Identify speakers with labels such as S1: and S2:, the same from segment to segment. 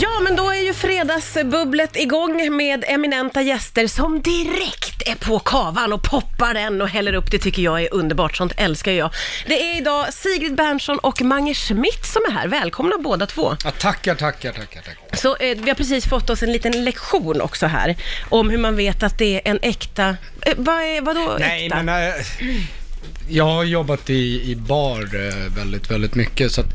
S1: Ja, men då är ju fredagsbubblet igång med eminenta gäster som direkt är på kavan och poppar den och häller upp. Det tycker jag är underbart, sånt älskar jag. Det är idag Sigrid Bernson och Mange Schmidt som är här. Välkomna båda två.
S2: Ja, tackar, tackar, tackar, tackar.
S1: Så eh, vi har precis fått oss en liten lektion också här om hur man vet att det är en äkta... Eh, vad är, vadå
S2: Nej,
S1: äkta?
S2: men eh, jag har jobbat i, i bar eh, väldigt, väldigt mycket, så att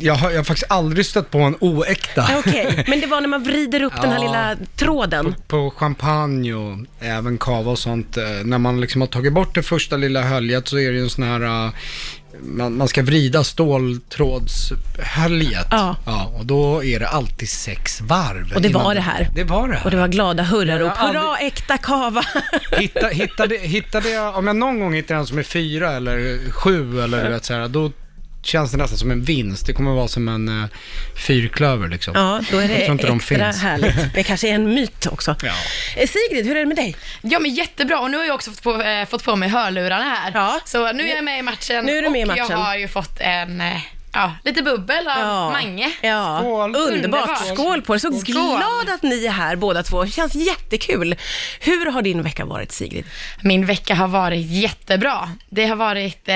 S2: jag har, jag har faktiskt aldrig stött på en oäkta.
S1: Okej, men det var när man vrider upp den här
S2: Ja.
S1: lilla tråden.
S2: På champagne och även kava och sånt, eh, när man liksom har tagit bort det första lilla höljet så är det ju en sån här, eh, man, man ska vrida ståltrådshöljet.
S1: Ja.
S2: ja. Och då är det alltid sex varv.
S1: Och det
S2: innan
S1: var det här.
S2: Det var det här.
S1: Och det var glada hurrarop.
S2: Jag har aldrig-
S1: Hurra, äkta kava!
S2: Hitta, hittade, hittade jag, om jag någon gång hittar en som är fyra eller sju eller du vet så här, då känns det nästan som en vinst. Det kommer vara som en uh, fyrklöver liksom.
S1: Ja, då är det
S2: Jag tror inte
S1: extra
S2: de finns.
S1: härligt. Det kanske är en myt också.
S2: Ja.
S1: Eh, Sigrid, hur är det med dig?
S3: Ja men jättebra, och nu har jag också fått på, eh, fått på mig hörlurarna här.
S1: Ja.
S3: Så nu är jag med i matchen
S1: Nu är du med i
S3: och
S1: matchen.
S3: jag har ju fått en, eh, ja, lite bubbel av Mange.
S1: Ja,
S2: Skål.
S1: underbart.
S3: Underbart.
S1: Skål på er. Så
S3: Skål.
S1: glad att ni är här båda två. Det känns jättekul. Hur har din vecka varit, Sigrid?
S3: Min vecka har varit jättebra. Det har varit eh,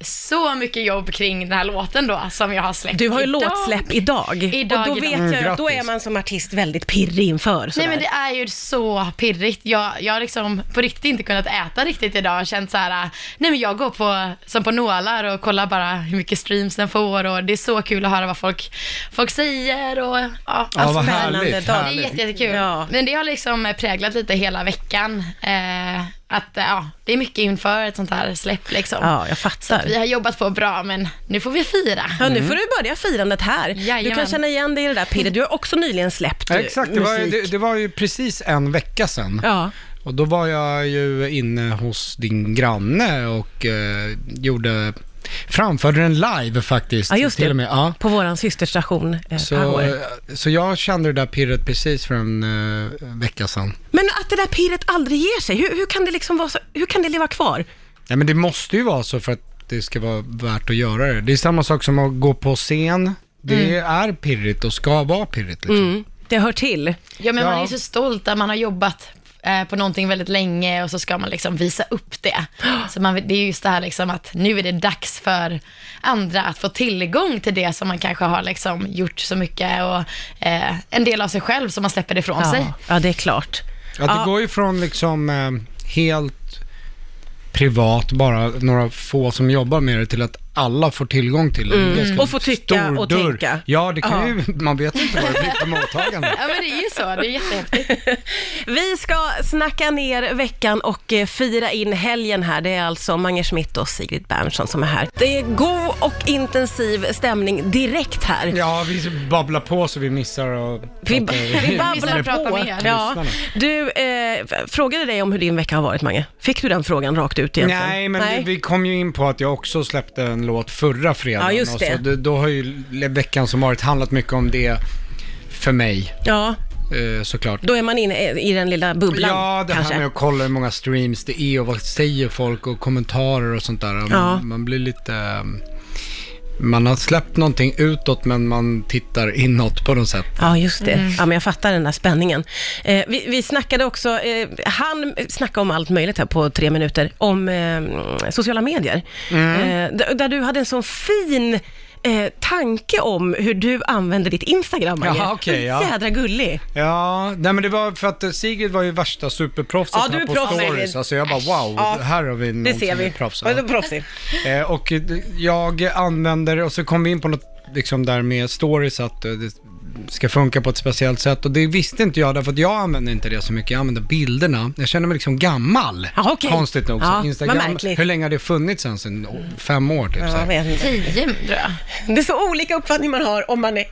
S3: så mycket jobb kring den här låten då, som jag har släppt
S1: Du har ju
S3: idag.
S1: låtsläpp idag.
S3: Idag,
S1: och då
S3: idag.
S1: vet
S2: Mm,
S1: jag ju att då är
S2: grattis.
S1: man som artist väldigt pirrig inför.
S3: Nej
S1: sådär.
S3: men det är ju så pirrigt. Jag, jag har liksom på riktigt inte kunnat äta riktigt idag och känt så här, äh, nej men jag går på, som på nålar och kollar bara hur mycket streams den får och det är så kul att höra vad folk, folk säger och ja,
S2: Ja, vad
S3: allt
S1: spännande
S2: härligt.
S1: dag.
S3: det är
S2: härligt.
S3: jätte, jättekul.
S1: Ja.
S3: Men det har liksom präglat lite hela veckan. Eh, att eh, ja, det är mycket inför ett sånt här släpp liksom.
S1: Ja, jag fattar.
S3: Vi har jobbat på bra men nu får vi fira.
S1: Ja,
S2: Mm.
S1: nu får du börja firandet här. Du kan
S3: Jajamän.
S1: känna igen dig i det där pirret. Du har också nyligen släppt
S2: Ja,
S1: eh,
S2: exakt, det var, ju-
S1: musik.
S2: det, det var ju precis en vecka sedan.
S1: Ja.
S2: Och då var jag ju inne hos din granne och eh, gjorde, framförde den live faktiskt.
S1: Ja, just
S2: till
S1: det.
S2: och med. Ja.
S1: På våran systerstation eh,
S2: Så,
S1: Power.
S2: så jag kände det där pirret precis för en eh, vecka sedan.
S1: Men att det där pirret aldrig ger sig, hur, hur kan det liksom vara så, hur kan det leva kvar?
S2: Nej men det måste ju vara så för att det ska vara värt att göra det. Det är samma sak som att gå på scen.
S1: Mm.
S2: Det är pirrigt och ska vara pirrigt liksom.
S1: Det hör till.
S3: Ja, men man
S2: Ja.
S3: är så stolt att man har jobbat eh, på någonting väldigt länge och så ska man liksom visa upp det. Så man, det är just det här liksom att nu är det dags för andra att få tillgång till det som man kanske har liksom gjort så mycket och eh, en del av sig själv som man släpper ifrån sig.
S1: Ja, ja det är klart.
S2: Att det
S1: Ja.
S2: går ju från liksom eh, helt privat, bara några få som jobbar med det, till att alla får tillgång till det. det. är ganska
S1: Mm. Och får tycka
S2: Mm. stor
S1: och
S2: dörr.
S1: tänka.
S2: Ja, det kan
S1: Ja.
S2: ju, man vet inte vad det blir för mottagande.
S3: Ja, men det är ju så. Det är jättehäftigt.
S1: Vi ska snacka ner veckan och eh, fira in helgen här. Det är alltså Mange Schmidt och Sigrid Bernson som är här. Det är god och intensiv stämning direkt här.
S2: Ja, vi babblar på så vi missar och...
S1: Vi,
S2: pratar-
S1: vi babblar
S3: Vi pratar
S1: på.
S3: mer.
S1: Ja.
S2: Lyssnarna.
S1: Du eh, f- frågade dig om hur din vecka har varit, Mange. Fick du den frågan rakt ut egentligen?
S2: Nej, men Vi, vi kom ju in på att jag också släppte en låt förra fredagen.
S1: Ja, just
S2: och
S1: det.
S2: Så, då, då har ju le- veckan som varit handlat mycket om det för mig,
S1: Ja,
S2: eh, såklart.
S1: då är man inne i den lilla bubblan
S2: Ja, det
S1: kanske.
S2: här med att kolla hur många streams det är och vad säger folk och kommentarer och sånt där. Man,
S1: Ja.
S2: man blir lite... eh, Man har släppt någonting utåt men man tittar inåt på något sätt.
S1: Ja, just det. Ja, men jag fattar den där spänningen. Eh, vi, vi snackade också, eh, han snackade om allt möjligt här på tre minuter, om eh, sociala medier.
S2: Mm.
S1: Eh, d- där du hade en sån fin eh, tanke om hur du använder ditt Instagram, Mange.
S2: Jaha, okej, ja.
S1: Jädra gullig.
S2: Ja, nej men det var för att eh, Sigrid var ju värsta superproffset
S1: Ja, du
S2: här
S1: är
S2: på
S1: proffs, Sigrid.
S2: stories. Alltså jag bara wow,
S1: Ja,
S2: här har vi någon
S1: Det ser
S2: som är
S1: vi.
S2: proffs.
S1: Ja,
S2: Ja.
S1: du är proffsig.
S2: Eh, och eh, jag använder, och så kom vi in på något liksom där med stories att eh, det ska funka på ett speciellt sätt och det visste inte jag därför att jag använder inte det så mycket, jag använder bilderna. Jag känner mig liksom gammal,
S1: Ja, okej.
S2: konstigt nog.
S1: Ja,
S2: så
S1: vad
S2: Instagram,
S1: märkligt.
S2: hur länge har det funnits sen? sen fem år typ? så
S1: Ja, jag
S2: här.
S1: vet inte.
S3: Tio, tror jag.
S1: Det är så olika uppfattning man har om man är...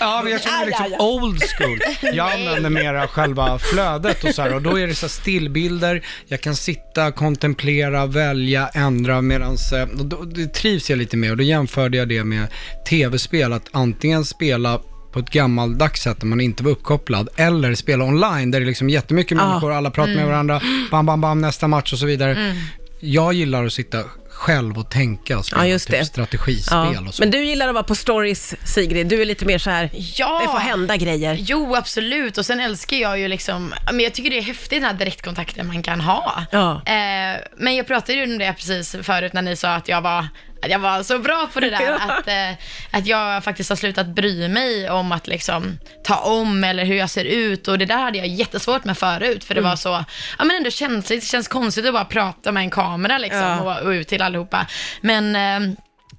S2: Ja, men jag känner mig
S1: Ja, ja,
S2: liksom old school. Jag använder mera själva flödet och så här. Och då är det så här stillbilder, jag kan sitta, kontemplera, välja, ändra medans... eh, och Då, det trivs jag lite med och då jämförde jag det med tv-spel, att antingen spela på ett gammaldags sätt där man inte var uppkopplad, eller spela online där det är liksom
S1: Ah. Mm.
S2: jättemycket människor, alla pratar med varandra, bam, bam, bam, nästa match och så vidare. Jag gillar att sitta själv och tänka och spela
S1: Ja, just
S2: typ
S1: det.
S2: strategispel
S1: Ja.
S2: och så.
S1: Men du gillar att vara på stories, Sigrid. Du är lite mer så här,
S3: Ja.
S1: det får hända grejer.
S3: Jo, absolut. Och sen älskar jag ju liksom, men jag tycker det är häftigt den här direktkontakten man kan ha.
S1: Ja.
S3: Eh, men jag pratade ju om det precis förut när ni sa att jag var, att jag var så bra på det där.
S1: Ja.
S3: att, eh, att jag faktiskt har slutat bry mig om att liksom ta om eller hur jag ser ut. Och det där hade jag jättesvårt med förut. För det
S1: Mm.
S3: var så, ja men ändå känsligt. Det känns konstigt att bara prata med en kamera liksom
S1: Ja.
S3: och, och ut till allihopa. Men eh,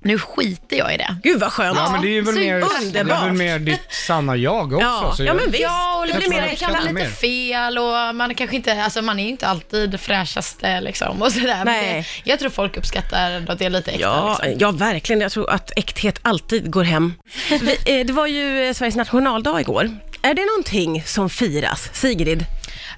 S3: nu skiter jag i det.
S1: Gud vad skönt.
S2: Ja, men det är ju väl
S3: så
S2: mer, det är
S1: underbart.
S2: väl mer ditt sanna jag också.
S1: Ja,
S2: så
S1: ja,
S2: jag-
S1: men visst.
S3: Ja, och
S1: det
S2: Jag
S1: blir
S3: lite
S2: tror
S3: mer,
S1: mer
S2: jag
S3: det kan
S1: äkta.
S2: uppskattar
S3: bli lite
S2: mer.
S3: fel och man kanske inte, alltså man är ju inte alltid fräschaste liksom och sådär. Men
S1: Nej.
S3: det, jag tror folk uppskattar ändå att det är lite äkta.
S1: Ja,
S3: liksom.
S1: ja, verkligen. Jag tror att äkthet alltid går hem. Vi, eh, det var ju eh, Sveriges nationaldag igår. Är det någonting som firas, Sigrid?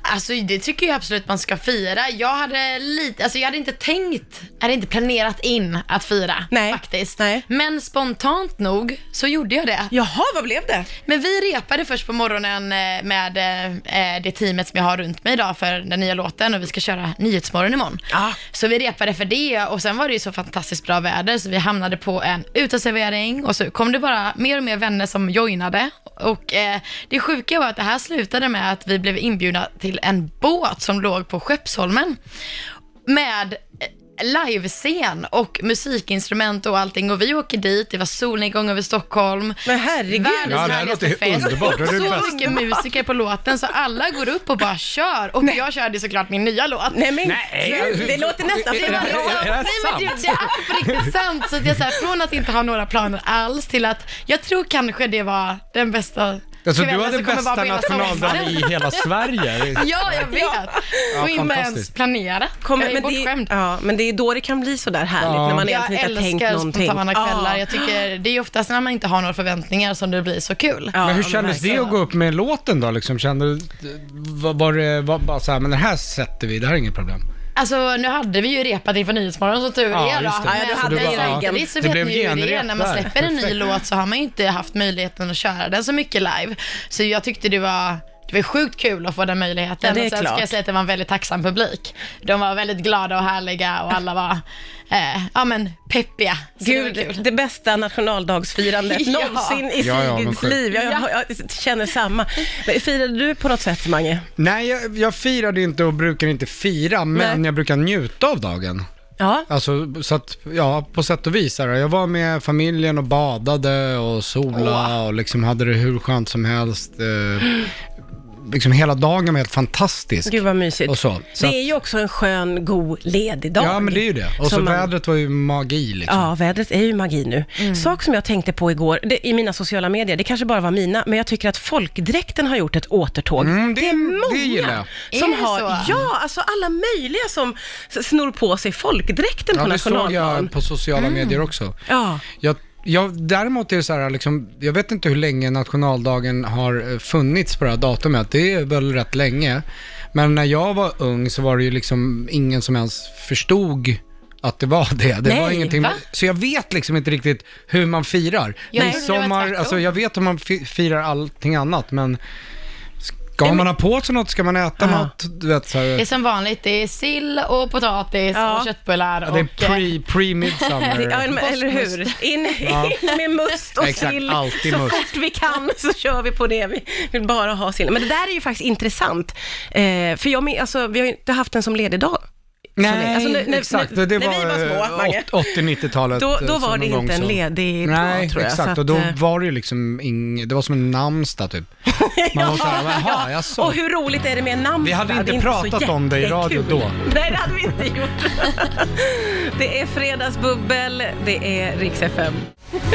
S3: Alltså det tycker jag absolut man ska fira. Jag hade lite, alltså jag hade inte tänkt, hade inte planerat in att fira
S1: Nej.
S3: faktiskt.
S1: Nej.
S3: Men spontant nog så gjorde jag det.
S1: Jaha, vad blev det?
S3: Men vi repade först på morgonen eh, med eh, eh, det teamet som jag har runt mig idag för den nya låten och vi ska köra Nyhetsmorgon imorgon.
S1: Ja.
S3: Så vi repade för det och sen var det ju så fantastiskt bra väder så vi hamnade på en uteservering och så kom det bara mer och mer vänner som joinade. Och eh, det sjuka var att det här slutade med att vi blev inbjudna till en båt som låg på Skeppsholmen med eh, livescen och musikinstrument och allting och vi åker dit, det var solnedgång över Stockholm.
S1: Men herregud.
S3: Världens
S2: Ja, det här
S3: härligaste
S2: låter
S3: fest.
S2: underbart. Det är det bästa.
S3: så mycket musiker på låten så alla går upp och bara kör. Och jag körde såklart min nya låt.
S1: Nej, men
S2: Nej.
S1: gud, det låter nästan
S2: Är
S1: som
S2: det
S1: en
S2: här- är det
S1: rock.
S2: här
S3: Nej men
S2: sant?
S3: du, det är på riktigt sant. Så att jag så här, från att inte ha några planer alls till att jag tror kanske det var den bästa
S2: Alltså, du
S3: kvällen
S2: hade
S3: som kommer vara
S2: bästa
S3: på hela
S2: nationaldagen
S3: sommaren.
S2: i hela Sverige.
S3: Ja, jag vet. och inte ens
S2: fantastiskt.
S3: planerat.
S1: Kommer-
S3: jag är
S1: men,
S3: bortskämd.
S1: det, ja, men det är då det kan bli så där härligt,
S2: Ja.
S1: när man
S3: Jag
S1: egentligen inte har tänkt
S3: älskar
S1: någonting.
S3: spontana kvällar.
S1: Ja.
S3: Jag tycker det är oftast när man inte har några förväntningar som det blir så kul.
S1: Ja,
S2: men hur kändes det
S1: verkligen.
S2: att gå upp med låten då? Liksom, kände, var, var det var bara så här, men det här sätter vi, det här är inget problem.
S3: Alltså nu hade vi ju repat inför Nyhetsmorgon så tur
S2: Ja,
S3: är då.
S2: just det.
S1: Ja, du
S3: Men
S1: hade
S3: samtidigt
S1: genrep.
S3: så
S2: Det
S3: vet
S2: blev
S3: ni ju hur det är.
S2: genrep
S3: När man
S2: där.
S3: släpper en ny
S2: Perfekt.
S3: låt så har man ju inte haft möjligheten att köra den så mycket live. Så jag tyckte det var det var sjukt kul att få den möjligheten.
S1: Ja, det är
S3: och sen
S1: klart.
S3: ska jag säga att det var en väldigt tacksam publik. De var väldigt glada och härliga och alla var, eh, ja men peppiga. Så det var
S1: Gud,
S3: kul.
S1: det bästa nationaldagsfirandet
S3: Ja.
S1: någonsin i
S2: Ja, ja, men
S1: Sigrids
S2: sjukt.
S1: liv. Jag, jag, jag känner samma. Men Firade du på något sätt, Mange?
S2: Nej, jag, jag firade inte och brukar inte fira, men
S1: Nej.
S2: jag brukar njuta av dagen.
S1: Ja.
S2: Alltså, så att, ja, på sätt och vis. Här, jag var med familjen och badade och sola och liksom hade det hur skönt som helst. Eh, liksom hela dagen var helt fantastisk.
S1: Gud vad mysigt.
S2: Och så. Så
S1: det är ju också en skön, god, ledig dag.
S2: Ja, men det är ju det. Och så
S1: Som man-
S2: vädret var ju magi liksom.
S1: Ja, vädret är ju magi nu.
S3: Mm.
S1: Sak som jag tänkte på igår, det, i mina sociala medier, det kanske bara var mina, men jag tycker att folkdräkten har gjort ett återtåg.
S2: Mm, det-
S1: det är många
S2: det gillar jag.
S1: som
S3: Är det
S1: har,
S3: så?
S1: ja, alltså alla möjliga som s- snor på sig folkdräkten
S2: Ja,
S1: på
S2: det såg
S1: nationaldagen.
S2: jag på sociala
S1: Mm.
S2: medier också.
S1: Ja.
S2: Jag, jag, däremot är det så här, liksom, jag vet inte hur länge nationaldagen har eh, funnits på det här datumet. Det är väl rätt länge. Men när jag var ung så var det ju liksom ingen som ens förstod att det var det. det
S1: Nej,
S2: var ingenting.
S3: va?
S2: Så jag vet liksom inte riktigt hur man firar.
S3: Jag trodde det var
S2: Midsommar,
S3: tvärtom.
S2: alltså jag vet hur man fi- firar allting annat, men ska man ha på sig något, ska man äta
S1: Ja.
S2: något? Du vet, så här,
S3: Det är som vanligt, det är sill och potatis
S1: Ja.
S3: och köttbullar
S2: ja,
S3: och...
S2: det är
S3: eh,
S2: pre- pre-midsummer.
S1: Det- Ja, men, eller hur? Alltså, In,
S2: Ja.
S1: in med must och
S2: Exakt,
S1: sill.
S2: alltid
S1: Så
S2: must.
S1: fort vi kan så kör vi på det. Vi vill bara ha sill. Men det där är ju faktiskt intressant. Eh, för jag, men- alltså, vi har ju inte haft en som ledig dag.
S2: Nej,
S1: Alltså, när- när-
S2: exakt.
S1: när- när
S2: det
S1: vi
S2: var,
S1: var små,
S2: eh,
S1: Mange.
S2: åt- 80-90-talet.
S1: Då,
S2: eh,
S1: då
S2: så
S1: var det
S2: någon gång
S1: inte en
S2: så.
S1: ledig
S2: Nej,
S1: dag tror jag.
S2: exakt.
S1: Så att,
S2: och då
S1: eh,
S2: var det ju liksom ing... det var som en namnsdag typ. Man var såhär, jaha, jag
S1: Och
S2: såg.
S1: hur roligt är det med en namnsdag?
S2: Vi hade inte
S1: Det är så
S2: pratat om det i radio
S1: jättekul.
S2: då.
S1: Nej, det hade vi inte gjort. det är fredagsbubbel, det är riks FM.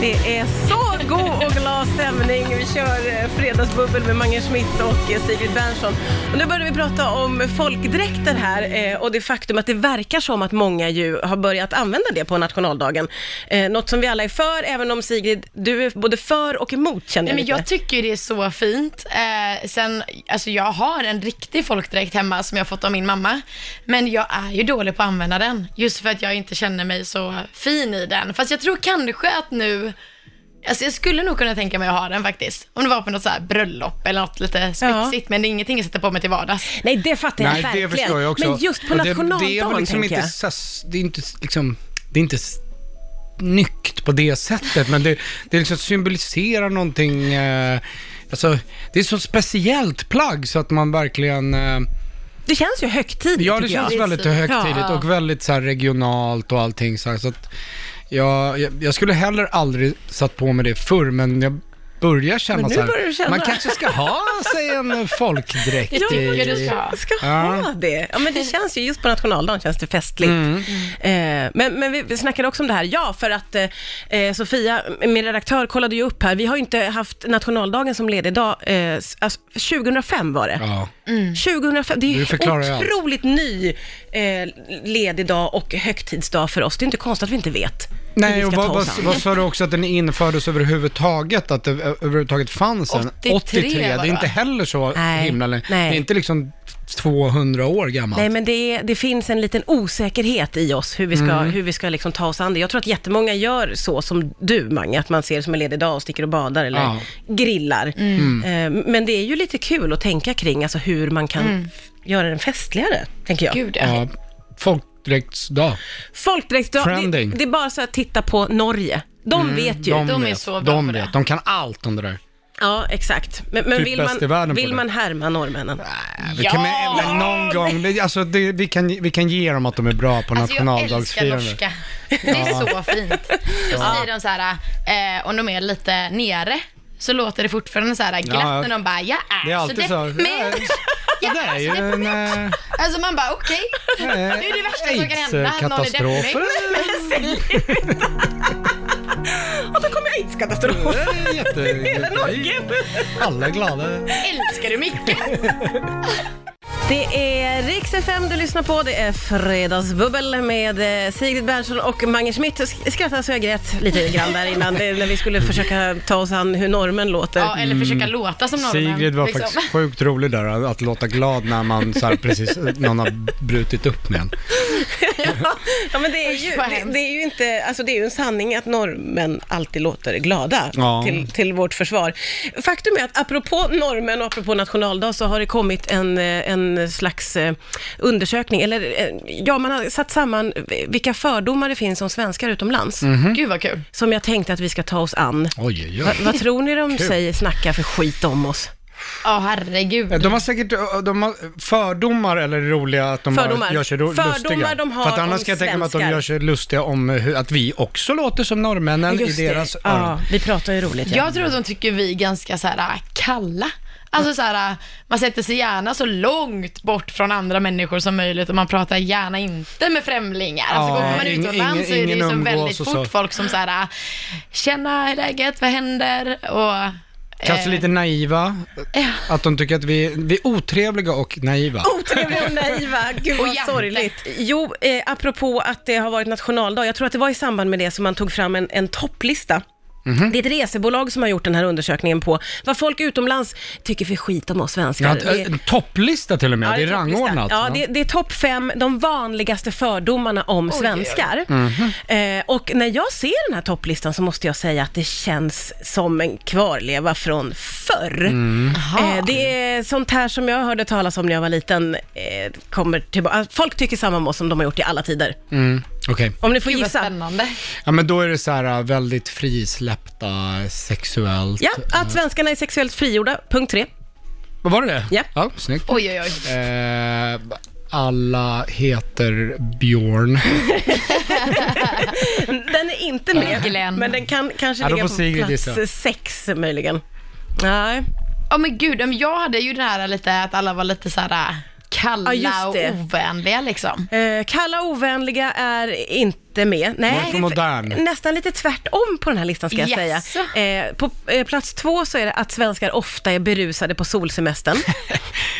S1: Det är så god och glad stämning. Vi kör eh, fredagsbubbel med Mange Schmidt och eh, Sigrid Bernson. Och nu börjar vi prata om folkdräkter här eh, och det faktum att det verkar som att många ju har börjat använda det på nationaldagen. Eh, Något som vi alla är för, även om Sigrid, du är både för och emot känner
S3: Nej,
S1: jag
S3: men
S1: lite.
S3: jag tycker ju det är så fint. Eh, sen, alltså jag har en riktig folkdräkt hemma som jag fått av min mamma. Men jag är ju dålig på att använda den. Just för att jag inte känner mig så fin i den. Fast jag tror kanske att nu Alltså jag skulle nog kunna tänka mig att ha den faktiskt. Om det var på något så här bröllop eller något lite spexigt, men det är ingenting jag sätter på mig till vardags.
S1: Nej, det fattar jag
S2: Nej,
S1: verkligen.
S2: det förstår jag också.
S1: Men just på
S2: Och det-
S1: nationaldagen,
S2: det är väl liksom
S1: tänker
S2: inte,
S1: jag.
S2: sas- det är inte s- liksom, det är inte s- nykt på det sättet, men det, det liksom symboliserar någonting, eh, alltså, det är så speciellt plagg så att man verkligen, eh,
S1: Det känns ju högtidligt,
S2: ja det
S1: tycker
S2: känns
S1: jag.
S2: väldigt högtidligt
S1: Ja.
S2: och väldigt så här regionalt och allting så, här, så att jag, jag, jag skulle heller aldrig satt på mig det förr, men jag börjar känna
S1: Men nu
S2: så här,
S1: börjar du känna.
S2: man kanske ska ha sig en folkdräkt
S1: Ja,
S2: i-
S1: men
S3: tycker
S1: du
S3: du
S1: ska,
S3: ska.
S1: ska
S2: Ja.
S1: ha det. Ja, men det känns ju, just på nationaldagen känns det festligt.
S2: Mm.
S1: Eh, men, men vi- vi snackade också om det här, ja, för att eh, eh, Sofia, min redaktör, kollade ju upp här, vi har ju inte haft nationaldagen som ledig dag, eh, s- alltså, 2005 var det.
S2: Ja.
S1: 2005, det är ju
S2: Du förklarar ju allt.
S1: otroligt ny eh, ledig dag och högtidsdag för oss. Det är inte konstigt att vi inte vet hur vi
S2: Nej,
S1: ska
S2: och
S1: ta
S2: vad, vad,
S1: oss an.
S2: vad sa du också att den infördes överhuvudtaget? Att det ö- överhuvudtaget fanns en?
S3: 83
S2: Det
S3: bara.
S2: är inte heller så
S1: Nej,
S2: himla länge. Det
S1: nej.
S2: är inte liksom 200 år gammalt.
S1: Nej, men det, är- det finns en liten osäkerhet i oss hur vi ska,
S2: Mm.
S1: hur vi ska liksom ta oss an det. Jag tror att jättemånga gör så som du, Mange, att man ser det som en ledig dag och sticker och badar eller
S2: Ja. Mm.
S1: grillar. Eh, Men det är ju lite kul att tänka kring alltså, hur man kan
S2: Mm.
S1: f- göra den festligare, tänker jag.
S3: Gud ja.
S2: ja, folkdräktsdag.
S1: Folkdräktsdag, det,
S2: Trending. Mm.
S1: det är bara så att titta på Norge. De vet ju.
S3: De är så bra
S2: de
S3: på det.
S2: vet. De kan allt om det där.
S1: Ja, exakt. Men, men
S2: Typ
S1: vill,
S2: bäst i världen
S1: man,
S2: på
S1: vill
S2: det.
S1: man härma norrmännen?
S2: Vi kan, men, men någon gång, det- alltså, det, vi, kan, vi kan ge dem att de är bra på
S3: Alltså jag älskar
S2: nationaldagsfirande.
S3: norska. Det är så fint. Då säger de så här, eh, om de är lite nere, så låter det fortfarande så här glatt
S2: Ja.
S3: när de bara, jag är,
S2: Det är alltid så.
S3: Alltså, Men,
S2: Ja,
S3: jag
S2: det är
S3: är
S2: ju
S3: så
S2: en...
S3: deprimerad.
S2: eh,
S3: Alltså man bara, okej, det är det värsta som kan hända, att någon är
S2: AIDS-katastrof.
S3: deppig.
S1: Och då kommer aidskatastrofen.
S2: Det är jätte-
S1: Hela Norge.
S2: Alla är glada.
S3: Älskar du Micke?
S1: Det är Rix FM du lyssnar på. Det är Fredagsbubbel med eh, Sigrid Bernson och Mange Schmidt. Jag sk- skrattade så jag grät lite grann där innan, det, när vi skulle försöka ta oss an hur normen låter.
S3: Ja, eller försöka låta som norrmän.
S2: Mm. Sigrid var
S3: liksom.
S2: faktiskt sjukt rolig där, att låta glad när man så här, precis, någon har brutit upp med en.
S1: ja, men det är, ju,
S3: Usch, vad
S1: det,
S3: hemskt.
S1: det är ju inte, alltså det är ju en sanning att norrmän alltid låter glada
S2: Ja.
S1: till, till vårt försvar. Faktum är att apropå norrmän och apropå nationaldag så har det kommit en, eh, en slags eh, undersökning, eller eh, ja, man har satt samman vilka fördomar det finns om svenskar utomlands.
S2: Mhm.
S3: Gud vad kul.
S1: som jag tänkte att vi ska ta oss an.
S2: Oj, oj,
S1: Va,
S2: oj.
S1: vad tror ni de
S2: Kul.
S1: säger, snackar för skit om oss?
S3: Ja, herregud.
S2: Eh, De har säkert de har fördomar eller roliga att de
S1: Fördomar.
S2: Har, gör sig ro-
S1: Fördomar
S2: lustiga.
S1: de har
S2: För att
S1: om
S2: annars kan jag tänka mig att de
S1: svenskar.
S2: gör sig lustiga om hur, att vi också låter som norrmännen i deras
S1: det.
S2: öron.
S1: Ja, vi pratar ju roligt. Ja.
S3: Jag tror att de tycker vi är ganska så här äh, kalla. Alltså så här, man sätter sig gärna så långt bort från andra människor som möjligt och man pratar gärna inte med främlingar. Alltså
S2: Ja,
S3: går man
S2: ingen-
S3: utomlands så är det
S2: ingen
S3: ju så
S2: umgås
S3: väldigt
S2: och
S3: fort
S2: så.
S3: folk som så här, äh, tjena, hur är läget, vad händer? Och,
S2: Kanske
S3: eh,
S2: lite naiva,
S1: Eh.
S2: att de tycker att vi, vi är otrevliga och
S1: Oh,
S2: naiva.
S1: Otrevliga och naiva, gud
S3: Och
S1: vad
S3: jante.
S1: sorgligt. Jo, eh, apropå att det har varit nationaldag, jag tror att det var i samband med det som man tog fram en, en topplista.
S2: Mhm.
S1: Det är ett resebolag som har gjort den här undersökningen på vad folk utomlands tycker för skit om oss
S2: Ja,
S1: svenskar. Det-
S2: en topplista till och med,
S1: Ja,
S2: det är
S1: topplista.
S2: rangordnat.
S1: Ja,
S2: va?
S1: det, det är topp fem, de vanligaste fördomarna om svenskar.
S2: Mhm.
S1: Eh, och när jag ser den här topplistan så måste jag säga att det känns som en kvarleva från förr.
S2: Mm.
S1: Eh, det är sånt här som jag hörde talas om när jag var liten. Eh, kommer tillbaka. Folk tycker samma om oss som de har gjort i alla tider.
S2: mm, okej.
S1: Om ni får
S3: Gud vad
S1: gissa.
S3: spännande.
S2: Ja, men då är det så här äh, väldigt frisläppta sexuellt.
S1: Ja, att svenskarna är sexuellt frigjorda, punkt tre.
S2: Vad var det det?
S1: Ja.
S2: ja snyggt.
S3: Oj, oj, oj.
S2: Eh, alla heter Björn.
S1: Den är inte med,
S3: Glenn.
S1: men den kan kanske
S2: Ja, då
S1: ligga
S2: får
S1: på
S2: Sigrid
S1: plats
S2: gissa.
S1: sex möjligen. Nej.
S3: Ja men gud, ja, men jag hade ju den här lite att alla var lite så här äh, kalla
S1: Ja, just
S3: och
S1: det.
S3: ovänliga liksom.
S1: Eh, Kalla och ovänliga är inte med. Nej,
S2: Mörk och modern.
S1: Nästan lite tvärtom på den här listan ska jag
S3: Jaså?
S1: säga. Eh, på eh, plats två så är det att svenskar ofta är berusade på solsemestern.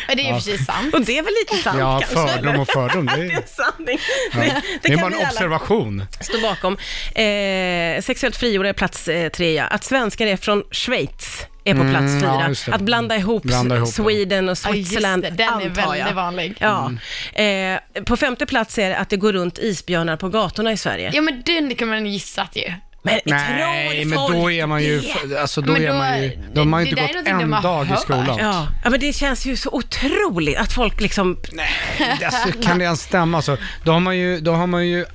S3: Men det är ju precis sant.
S1: Och det är väl lite sant
S2: Ja,
S1: kanske?
S2: fördom och fördom. Det
S1: Det är en
S2: är,
S1: sanning.
S2: ja.
S1: Det,
S2: det är
S1: kan
S2: bara
S1: vi
S2: en
S1: alla
S2: observation.
S1: stå bakom. Eh, sexuellt frigjorda är plats eh, tre, ja. Att svenskar är från Schweiz är på plats
S2: Mm, ja,
S1: fyra.
S2: just det.
S1: att blanda ihop,
S2: Blanda ihop, ja.
S1: Sweden och
S3: Ja, just det.
S1: Switzerland,
S3: Den är
S1: antar jag.
S3: väldigt vanlig.
S1: Ja.
S2: Mm.
S1: Eh, på femte plats är det att det går runt isbjörnar på gatorna i Sverige.
S3: Ja men den kunde man gissat ju.
S1: Men
S2: Nej,
S1: tror
S2: men
S1: folk
S2: då är man ju,
S1: det?
S2: alltså då
S3: Men
S2: är
S3: då-
S2: man ju, då har man ju
S3: det
S2: inte
S3: där är
S2: gått
S3: någonting
S2: en
S3: de har
S2: dag i
S3: hört.
S2: skolan.
S1: Ja. ja, men det känns ju så otroligt att folk liksom...
S2: Alltså, kan det ens stämma så? Då har, man ju, då har man ju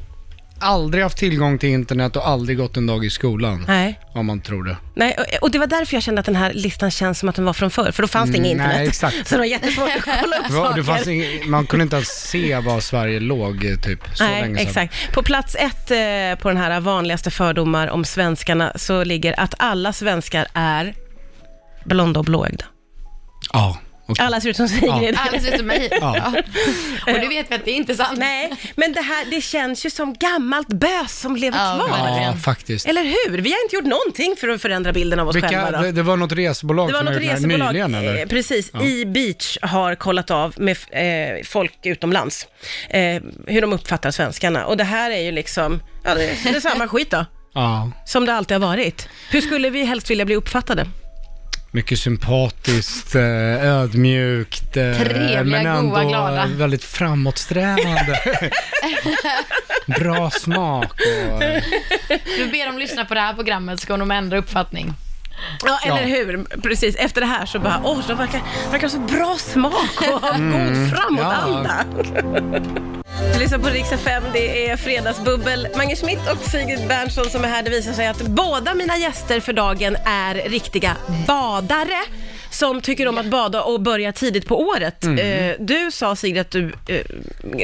S2: aldrig haft tillgång till internet och aldrig gått en dag i skolan.
S1: Nej.
S2: Om man tror det.
S1: Nej, och- och det var därför jag kände att den här listan känns som att den var från förr, för då fanns det inget
S2: Mm, nej,
S1: internet.
S2: exakt.
S1: Så det var jättesvårt att kolla upp
S2: Det var,
S1: saker.
S2: det fanns ing, man kunde inte ens se var Sverige låg eh, typ så
S1: Nej,
S2: länge sedan.
S1: exakt. På plats ett eh, på den här vanligaste fördomar om svenskarna så ligger att alla svenskar är blonda och blåögda.
S2: Ja, okej.
S1: Alla ser ut som Sigrid.
S3: Alldeles utom mig.
S2: Ja.
S3: Ja. Och du vet vi att det är inte sant.
S1: Nej, men det här, det känns ju som gammalt bös som lever
S3: Ja,
S1: kvar.
S2: ja,
S3: verkligen.
S2: faktiskt.
S1: Eller hur? Vi har inte gjort någonting för att förändra bilden av oss
S2: Vilka,
S1: själva. Då.
S2: det, det var något resebolag
S1: Det var
S2: som
S1: något
S2: gjorde här
S1: resebolag,
S2: nyligen
S1: eh,
S2: eller?
S1: precis, i Beach har kollat av med eh, folk utomlands, eh, hur de uppfattar svenskarna. Och det här är ju liksom, ja det är, det är samma skit då,
S2: Ja,
S1: som det alltid har varit. Hur skulle vi helst vilja bli uppfattade?
S2: mycket sympatiskt, eh, ödmjukt, eh,
S3: Trevliga,
S2: men ändå
S3: goa, glada.
S2: väldigt framåtsträvande. Bra smak och...
S3: Du ber dem lyssna på det här programmet så kommer de ändra uppfattning.
S1: Ja, eller
S2: Ja.
S1: hur? Precis, efter det här så bara, åh, de verkar, verkar ha så bra smak och ha god framåtanda. Du lyssnar på Rix FM, det är Fredagsbubbel. Mange Schmidt och Sigrid Bernson som är här. Det visar sig att båda mina gäster för dagen är riktiga badare som tycker om att bada och börja tidigt på året. Eh, Du sa Sigrid att du eh,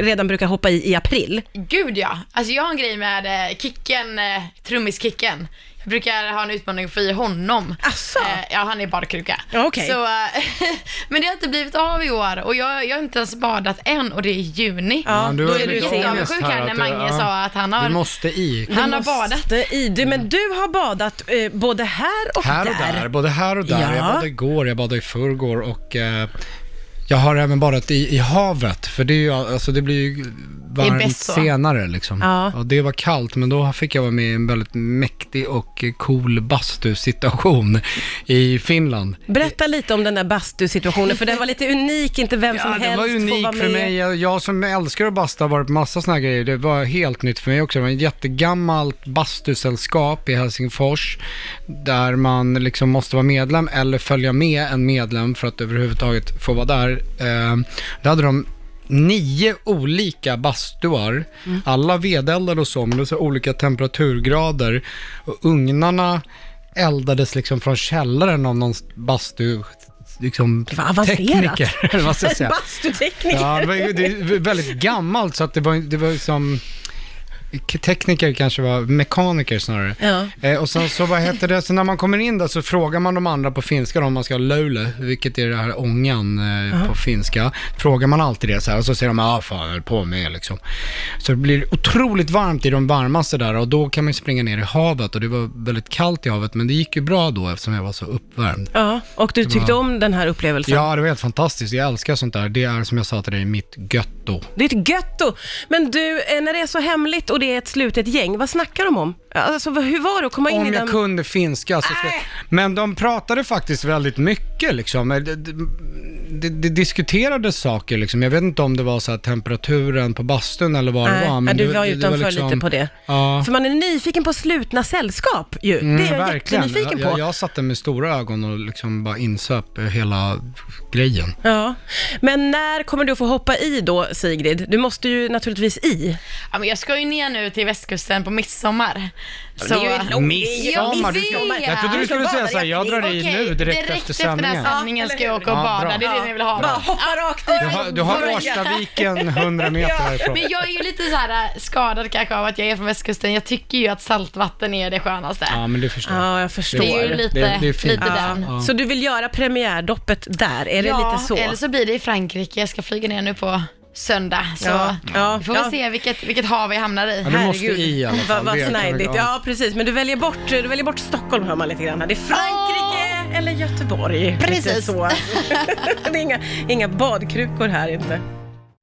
S1: redan brukar hoppa i i april.
S3: Gud ja. Alltså jag har en grej med eh, Kicken, eh, trummiskicken. Jag brukar ha en utmaning för i honom.
S1: Asså?
S3: Eh, ja, han är badkruka.
S1: Alltså. Ja, okej.
S3: Så, eh, men det har inte blivit av i år och jag, jag har inte ens badat än och det är i juni.
S1: Ja,
S2: du
S1: då
S2: har
S1: är du
S2: lite
S1: sen.
S2: ångest
S3: Sjuk här
S2: att
S3: när
S2: du-
S3: Mange
S2: ja.
S3: sa att han har-
S2: Du måste i.
S3: Han har
S1: Måste
S3: badat.
S1: I du, men du har badat eh, både här och
S2: Här och där. både här och där.
S1: Ja.
S2: Jag badade igår, jag badade i förrgår och eh, jag har även badat i, i havet, för det, är ju, alltså, det blir ju varmt
S3: bäst så.
S2: senare. Liksom.
S1: Ja.
S2: Och det var kallt, men då fick jag vara med i en väldigt mäktig och cool bastusituation i Finland.
S1: Berätta lite om den där bastusituationen, för den var lite unik, inte vem som
S2: Ja,
S1: helst
S2: den var
S1: får
S2: unik
S1: vara med.
S2: för mig. Jag, jag som älskar att basta har varit på massa såna här grejer. Det var helt nytt för mig också. Det var ett jättegammalt bastusällskap i Helsingfors där man liksom måste vara medlem eller följa med en medlem för att överhuvudtaget få vara där. Eh, där hade de nio olika bastuar,
S1: Mm.
S2: alla vedeldade och så, men det var så här olika temperaturgrader. Och ugnarna eldades liksom från källaren av någon bastu liksom
S1: Det var avancerat.
S2: tekniker, eller vad ska jag säga.
S1: Bastutekniker.
S2: Ja, det var, ju- det är väldigt gammalt så att det var, det var ju som tekniker kanske var mekaniker snarare.
S1: Ja.
S2: Eh, och sen så vad hette det, så när man kommer in där så frågar man de andra på finska då, om man ska ha löle, vilket är det här ångan eh, på finska. Frågar man alltid det så här och så säger de ja ah, fan jag höll på med liksom. Så det blir otroligt varmt i de varmaste där och då kan man ju springa ner i havet och det var väldigt kallt i havet men det gick ju bra då eftersom jag var så uppvärmd.
S1: Ja, och du tyckte om den här upplevelsen.
S2: Ja, det var helt fantastiskt. Jag älskar sånt där. Det är som jag sa till dig, mitt götto.
S1: Det är ett götto. Men du, eh, när det är så hemligt och det är ett slutet gäng, vad snackar de om? Alltså, vad- hur var det att komma in i
S2: Om
S1: den?
S2: jag kunde finska så skulle... Men de pratade faktiskt väldigt mycket liksom. Det, det, det, det diskuterades saker liksom. Jag vet inte om det var så här temperaturen på bastun eller vad
S1: Nej,
S2: det var.
S1: ja, du
S2: det-
S1: var
S2: det
S1: utanför
S2: liksom-
S1: lite på det.
S2: Ja.
S1: För man är nyfiken på slutna sällskap ju. det är
S2: Mm,
S1: jag
S2: verkligen.
S1: jättenyfiken på.
S2: Jag, jag satte med stora ögon och liksom bara insöp hela grejen.
S1: Ja. Men när kommer du att få hoppa i då, Sigrid? Du måste ju naturligtvis i.
S3: Ja, men jag ska ju ner nu till västkusten på midsommar. Så,
S1: det är ju långt.
S2: Midsommar, du
S3: Jag
S2: ska,
S3: vet.
S2: jag trodde du skulle säga så här, jag drar i
S3: Okej,
S2: nu direkt, efter
S3: den
S2: sändningen.
S3: här sändningen
S1: Ja,
S3: ska jag
S1: eller
S3: åka och
S2: hur? Ja, bra.
S3: bada. det är det ni vill ha.
S1: Bara
S3: va?
S1: hoppa rakt i.
S2: Du har, du har Årstaviken 100 meter härifrån.
S3: Men jag är ju lite så här äh, skadad kanske av att jag är från västkusten. Jag tycker ju att saltvatten är det skönaste.
S2: Ja, men det förstår jag.
S1: Ja, jag förstår.
S3: Det är ju lite,
S2: Det- det är fint.
S3: lite
S2: Ja.
S3: den.
S2: Ja.
S1: Så du vill göra premiärdoppet där, är det
S3: Ja,
S1: lite så?
S3: eller så blir det i Frankrike. Jag ska flyga ner nu på söndag. Så
S1: Ja, ja,
S3: vi får
S1: ja.
S3: väl se vilket, vilket hav vi hamnar i.
S2: Ja, du måste i i alla fall.
S1: Vad, vad
S2: Det kan vi-
S1: snajdigt.
S2: ja.
S1: Ja, precis. Men du väljer bort, du väljer bort Stockholm, hör man lite grann. här. Det är Frankrike eller Göteborg.
S3: Precis.
S1: Lite så. det är inga, inga badkrukor här inte.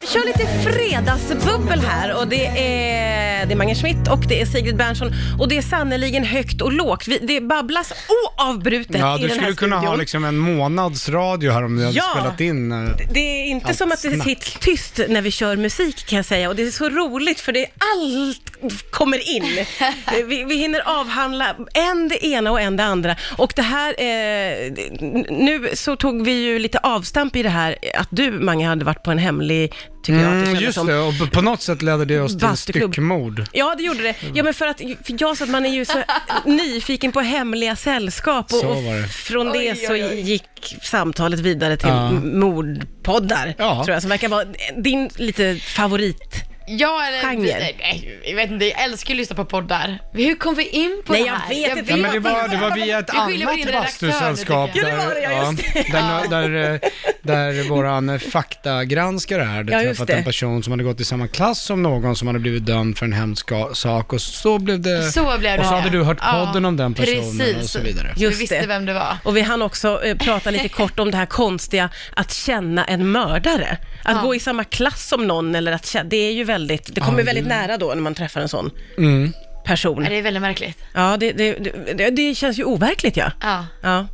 S1: Vi kör lite fredagsbubbel här och det är Eh, Det är Mange Schmidt och det är Sigrid Bernson och det är sannerligen högt och lågt. Vi, det babblas oavbrutet
S2: Ja,
S1: i
S2: du
S1: den här
S2: skulle kunna ha
S1: studion.
S2: liksom en månads radio här om du hade
S1: Ja.
S2: spelat in. eh,
S1: Det är inte
S2: Allt
S1: som att det
S2: snack.
S1: sitter tyst när vi kör musik kan jag säga och det är så roligt för det är allt kommer in. Eh, Vi, vi hinner avhandla en det ena och en det andra och det här, eh, n- nu så tog vi ju lite avstamp i det här eh, att du Mange hade varit på en hemlig, tycker jag att det
S2: Mm,
S1: kändes
S2: just
S1: som.
S2: det, och på- på något sätt ledde det oss till
S1: Bastuklubb.
S2: styckmord.
S1: Ja, det gjorde det. Ja, men för att för jag sa att man är ju så nyfiken på hemliga sällskap och,
S2: Så
S1: och
S2: var det.
S1: från det
S3: Oj,
S1: så
S3: oj, oj.
S1: gick samtalet vidare till
S2: Ja.
S1: m- mordpoddar,
S2: Ja.
S1: tror jag, som verkar vara din lite favorit.
S3: Ja, eller,
S1: Genre.
S3: Nej, jag vet inte, jag älskar ju att lyssna på poddar. Hur kom vi in på
S1: Nej,
S3: det
S1: jag
S3: här?
S1: vet inte.
S2: Ja,
S1: Vi
S2: men det,
S1: var-
S2: var, det var via ett
S3: Vi skyller på din
S2: annat
S3: redaktör,
S2: bastusällskap.
S3: tycker
S1: jag. Ja, det var det, ja, just
S2: där, där, eh, där våran eh, faktagranskare här hade
S1: Ja, just
S2: träffat
S1: det.
S2: en person som hade gått i samma klass som någon som hade blivit dömd för en hemsk ga- sak och så blev det...
S3: Så blev det.
S2: och så hade du hört
S3: Ja,
S2: podden om den personen
S3: precis.
S2: och så vidare.
S3: Vi
S1: Just
S3: visste
S1: det.
S3: vem det var.
S1: Och vi hann också eh, prata lite kort om det här konstiga att känna en mördare. Att
S3: Ja.
S1: gå i samma klass som någon eller att känna, det är ju väldigt, det kommer
S2: Ja, det-
S1: väldigt nära då när man träffar en sån
S2: Mm.
S1: person.
S3: Ja, det är väldigt märkligt.
S1: Ja, det, det, det, det- det känns ju overkligt ja.
S3: Ja.
S1: Ja,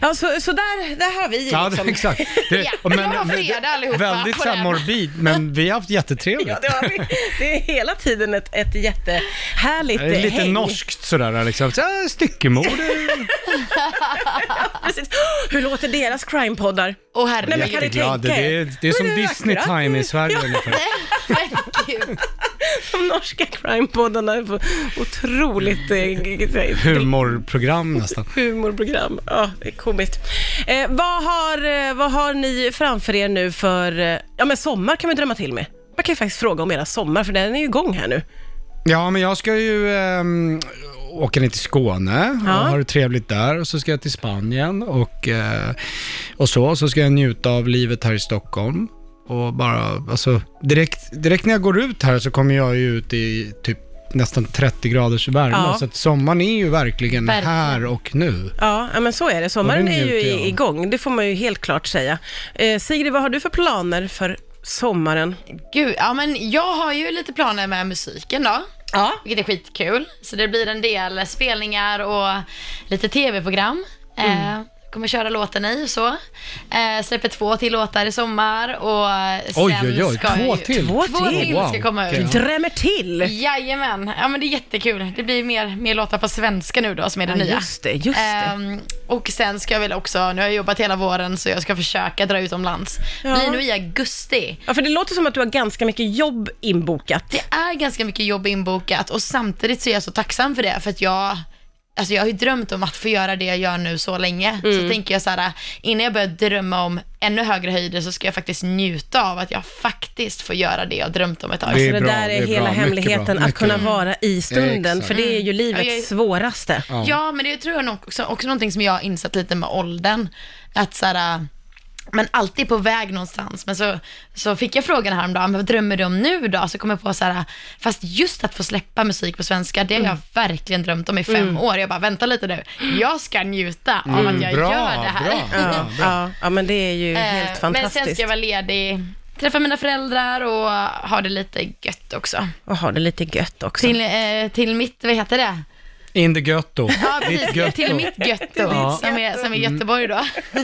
S1: ja så, så där, där har vi
S2: Ja, det,
S1: liksom.
S2: exakt. Det,
S3: Ja,
S2: och
S3: glad
S2: det-
S3: fredag allihopa
S2: Väldigt
S3: på den.
S2: samorbid, men vi har haft jättetrevligt.
S1: Ja, det har vi. Det är hela tiden ett, ett jättehärligt
S2: Det är lite
S1: häng.
S2: norskt sådär liksom. Så, äh, Styckemord.
S1: Precis. Hur låter deras crime-poddar?
S3: Åh
S1: Nej,
S3: herregud.
S1: men kan du
S2: Jätteglad.
S1: tänka er?
S2: Det är, det
S1: Men
S2: är som
S1: det är
S2: Disney
S1: akkurat.
S2: time i Sverige
S1: Ja.
S2: ungefär.
S3: Herregud.
S1: De norska crime-poddarna är på otroligt eh, g- g-
S2: Humorprogram nästan.
S1: humorprogram. Ja, det är komiskt. Eh, vad, har, eh, vad har ni framför er nu för... Eh, ja, men sommar kan man drömma till med. Man kan ju faktiskt fråga om era sommar, för den är ju igång här nu.
S2: Ja, men jag ska ju ehm, åka ner till Skåne
S1: Ja.
S2: och ha det trevligt där. Och så ska jag till Spanien och, eh, och så. Så ska jag njuta av livet här i Stockholm. Och bara, alltså, direkt, direkt när jag går ut här så kommer jag ju ut i typ nästan 30 graders värme.
S1: Ja.
S2: Så att sommaren är ju verkligen,
S3: Verkligen.
S2: här och nu.
S1: Ja, ja, men så är det. Sommaren
S2: Ja, det
S1: är ju
S2: njuter jag
S1: i-
S2: av.
S1: igång, det får man ju helt klart säga. Eh, Sigrid, vad har du för planer för sommaren?
S3: Gud, ja men jag har ju lite planer med musiken då.
S1: Ja.
S3: Vilket är skitkul. Så det blir en del spelningar och lite tv-program.
S1: Mm.
S3: Eh, kommer köra låten i och så. Eh, släpper två till låtar i sommar och sen
S2: Oj, oj, oj.
S3: ska
S2: Två
S3: jag ju...
S2: till.
S1: Två
S3: Två
S1: till.
S3: till
S2: Wow,
S3: ska komma
S2: okej.
S3: ut.
S1: Drämmer till!
S3: Jajamän, ja men det är jättekul. Det blir mer, mer låtar på svenska nu då som är det
S1: Ja,
S3: nya.
S1: just det, just det.
S3: Ehm, och sen ska jag väl också, nu har jag jobbat hela våren så jag ska försöka dra utomlands.
S1: Ja.
S3: Blir nog i augusti.
S1: Ja, för det låter som att du har ganska mycket jobb inbokat.
S3: Det är ganska mycket jobb inbokat och samtidigt så är jag så tacksam för det för att jag Alltså jag har ju drömt om att få göra det jag gör nu så länge. Så tänker jag så här, innan jag börjar drömma om ännu högre höjder så ska jag faktiskt njuta av att jag faktiskt får göra det jag drömt om ett tag.
S2: Det
S1: Så
S2: är
S1: det
S2: bra,
S1: där är,
S2: det är
S1: hela
S2: bra, mycket
S1: hemligheten,
S2: bra,
S1: att
S2: mycket
S1: kunna
S2: bra.
S1: vara i stunden,
S2: Exakt.
S1: för det är ju livets
S3: Mm. Ja, jag-
S1: svåraste.
S2: Ja.
S3: Ja, men det tror jag nog också, också någonting som jag har insett lite med åldern. Att så här, äh, men alltid på väg någonstans. Men så, så fick jag frågan häromdagen, vad drömmer du om nu då? Så kom jag på så här, äh, fast just att få släppa musik på svenska, det har
S2: Mm.
S3: jag verkligen drömt om i fem år. Jag bara, vänta lite nu, jag ska njuta av att jag
S2: Mm. bra,
S3: gör det här.
S2: bra.
S1: Ja, ja, ja, men det är ju
S3: Eh,
S1: helt
S3: men sen
S1: fantastiskt.
S3: ska jag vara ledig, träffa mina föräldrar och ha det lite gött också.
S1: Och ha det lite gött också.
S3: Till, eh, till mitt, vad heter det?
S2: In the ghetto.
S3: Ja,
S2: Ditt
S3: precis,
S2: götto.
S3: till mitt götto,
S2: Ja. Mm.
S3: som, är, som är Göteborg då.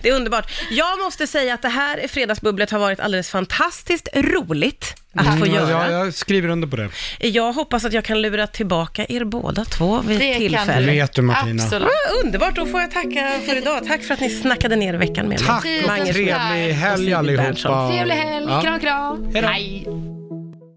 S1: Det är underbart. Jag måste säga att det här fredagsbubblet har varit alldeles fantastiskt roligt att få
S2: Mm,
S1: göra.
S2: ja, jag skriver under på det.
S1: Jag hoppas att jag kan lura tillbaka er båda två vid
S3: Det kan
S1: tillfälle.
S3: du.
S2: Vet du, Martina.
S3: Absolut.
S1: Ah, underbart, då får jag tacka för idag. Tack för att ni snackade ner veckan med mig.
S2: Tack och
S3: Tusen tack.
S2: trevlig helg
S1: Sigrid Bernson.
S2: allihopa.
S3: Trevlig helg,
S2: Ja.
S3: kram kram.
S2: Hej då.
S3: Hej.